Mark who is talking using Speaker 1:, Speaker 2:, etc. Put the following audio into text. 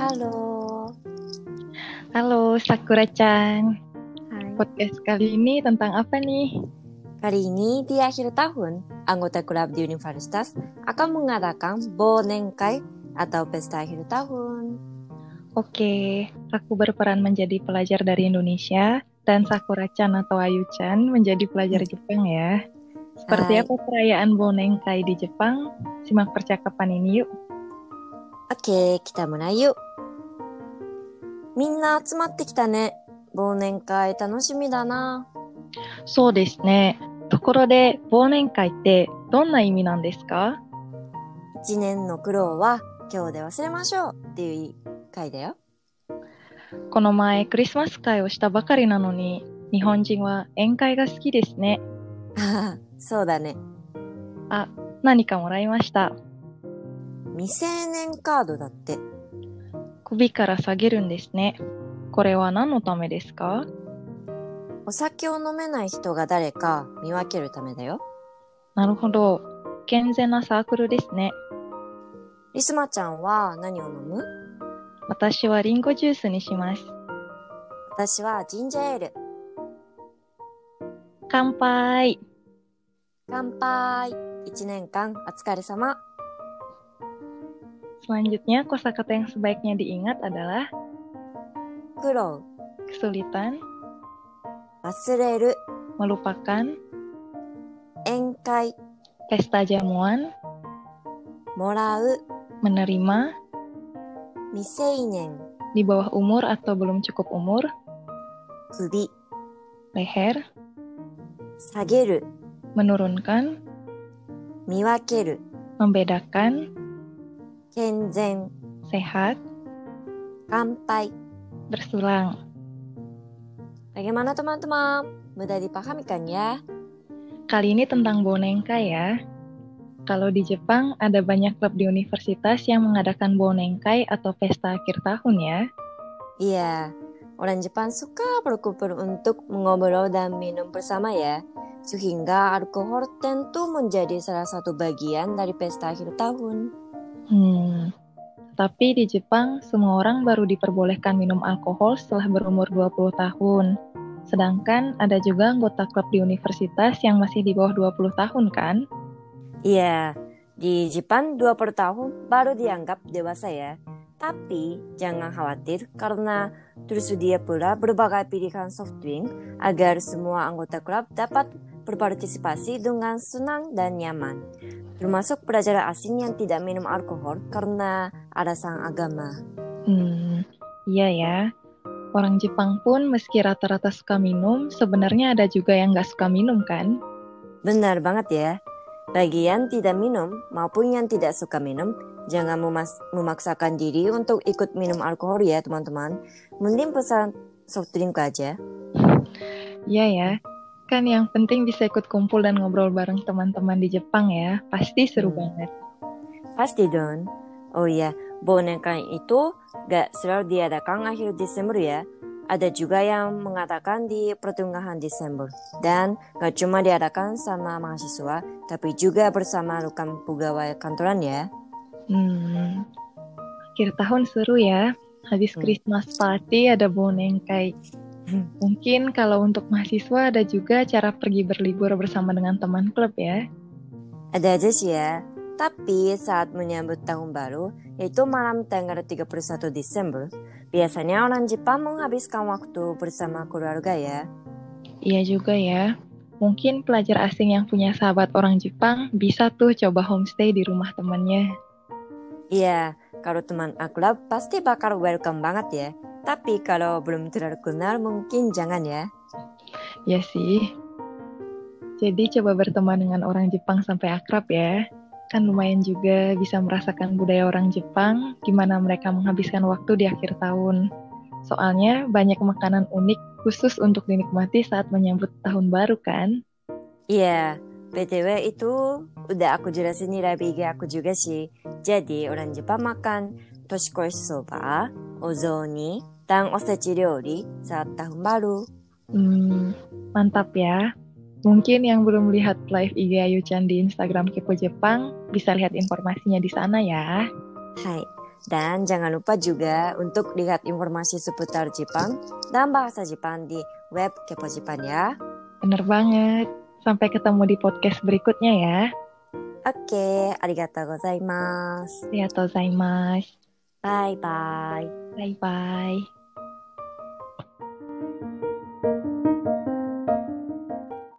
Speaker 1: Halo.
Speaker 2: Halo Sakura-chan,
Speaker 1: Hai.
Speaker 2: podcast kali ini tentang apa nih?
Speaker 1: Kali ini di akhir tahun, anggota klub di universitas akan mengadakan bonengkai atau pesta akhir tahun.
Speaker 2: Oke, aku berperan menjadi pelajar dari Indonesia dan Sakura-chan atau Ayu-chan menjadi pelajar Jepang ya.
Speaker 1: Hai.
Speaker 2: Seperti apa perayaan Bonenkai di Jepang? Simak percakapan ini yuk.
Speaker 1: Oke, kita mulai yuk. みんな集まってきたね。忘年会楽しみだな。
Speaker 2: そうですね。ところで、忘年会ってどんな意味なんですか
Speaker 1: 一年の苦労は今日で忘れましょうっていう会 だよ。
Speaker 2: この前クリスマス会をしたばかりなのに、日本人は宴会が好きですね。
Speaker 1: ああ、そうだね。
Speaker 2: 何かもらいました。
Speaker 1: 未成年カードだって。
Speaker 2: 首から下げるんですね。これは何のためですか
Speaker 1: お酒を飲めない人が誰か見分けるためだよ。
Speaker 2: なるほど。健全なサークルですね。
Speaker 1: リスマちゃんは何を飲む
Speaker 2: 私はリンゴジュースにします。
Speaker 1: 私はジンジャーエール。
Speaker 2: 乾杯
Speaker 1: 乾杯。一年間お疲れ様。
Speaker 2: Selanjutnya, kosakata yang sebaiknya diingat adalah
Speaker 1: 苦労、
Speaker 2: kesulitan,
Speaker 1: 忘れる、
Speaker 2: melupakan,
Speaker 1: 宴会、
Speaker 2: pesta jamuan,
Speaker 1: もらう、
Speaker 2: menerima,
Speaker 1: 未成年、
Speaker 2: di bawah umur atau belum cukup umur,
Speaker 1: 首、
Speaker 2: leher,
Speaker 1: 下げる、
Speaker 2: menurunkan,
Speaker 1: 見分ける、
Speaker 2: membedakan,
Speaker 1: 健全、
Speaker 2: sehat,
Speaker 1: 乾杯。
Speaker 2: bersulang.
Speaker 1: Bagaimana teman-teman? Mudah dipahami kan ya?
Speaker 2: Kali ini tentang boneka ya. Kalau di Jepang, ada banyak klub di universitas yang mengadakan bonenkai atau pesta akhir tahun ya.
Speaker 1: Iya, orang Jepang suka berkumpul untuk mengobrol dan minum bersama ya. Sehingga alkohol tentu menjadi salah satu bagian dari pesta akhir tahun.
Speaker 2: Hmm. Tapi di Jepang, semua orang baru diperbolehkan minum alkohol setelah berumur 20 tahun. Sedangkan ada juga anggota klub di universitas yang masih di bawah 20 tahun kan?
Speaker 1: Iya, di Jepang 20 tahun baru dianggap dewasa ya. Tapi jangan khawatir karena tersedia pula berbagai pilihan soft drink agar semua anggota klub dapat berpartisipasi dengan senang dan nyaman. Termasuk pelajar asing yang tidak minum alkohol karena alasan agama.
Speaker 2: Hmm, iya ya. Orang Jepang pun meski rata-rata suka minum, sebenarnya ada juga yang nggak suka minum kan?
Speaker 1: Benar banget ya. Bagi yang tidak minum maupun yang tidak suka minum, jangan memas- memaksakan diri untuk ikut minum alkohol ya teman-teman. Mending pesan soft drink aja.
Speaker 2: Iya ya. Kan yang penting bisa ikut kumpul dan ngobrol bareng teman-teman di Jepang ya. Pasti seru
Speaker 1: Hmm.
Speaker 2: banget.
Speaker 1: Pasti dong. Oh iya, boneka itu gak selalu diadakan akhir Desember ya. Ada juga yang mengatakan di pertengahan Desember. Dan gak cuma diadakan sama mahasiswa, tapi juga bersama rekan pegawai kantoran ya.
Speaker 2: Hmm. Akhir tahun seru ya. Habis
Speaker 1: Hmm.
Speaker 2: Christmas party ada bonengkai.
Speaker 1: Hmm.
Speaker 2: Mungkin kalau untuk mahasiswa ada juga cara pergi berlibur bersama dengan teman klub ya.
Speaker 1: Ada aja sih ya. Tapi saat menyambut tahun baru, yaitu malam tanggal 31 Desember, biasanya orang Jepang menghabiskan waktu bersama keluarga ya.
Speaker 2: Iya juga ya. Mungkin pelajar asing yang punya sahabat orang Jepang bisa tuh coba homestay di rumah temannya.
Speaker 1: Iya, kalau teman akrab pasti bakal welcome banget ya. Tapi kalau belum terlalu kenal mungkin jangan ya.
Speaker 2: Ya sih. Jadi coba berteman dengan orang Jepang sampai akrab ya. Kan lumayan juga bisa merasakan budaya orang Jepang, gimana mereka menghabiskan waktu di akhir tahun. Soalnya banyak makanan unik khusus untuk dinikmati saat menyambut tahun baru kan?
Speaker 1: Iya, BTW itu udah aku jelasin di live IG aku juga sih. Jadi orang Jepang makan toshikoshi soba, ozoni, dan osechi ryori saat tahun baru.
Speaker 2: Hmm, mantap ya. Mungkin yang belum lihat live IG Ayu Chan di Instagram Kepo Jepang bisa lihat informasinya di sana ya.
Speaker 1: Hai, Dan jangan lupa juga untuk lihat informasi seputar Jepang dan bahasa Jepang di web Kepo Jepang ya.
Speaker 2: Bener banget. Sampai ketemu di podcast berikutnya ya.
Speaker 1: Oke, arigatou gozaimasu.
Speaker 2: Arigatou gozaimasu.
Speaker 1: Bye bye.
Speaker 2: Bye-bye.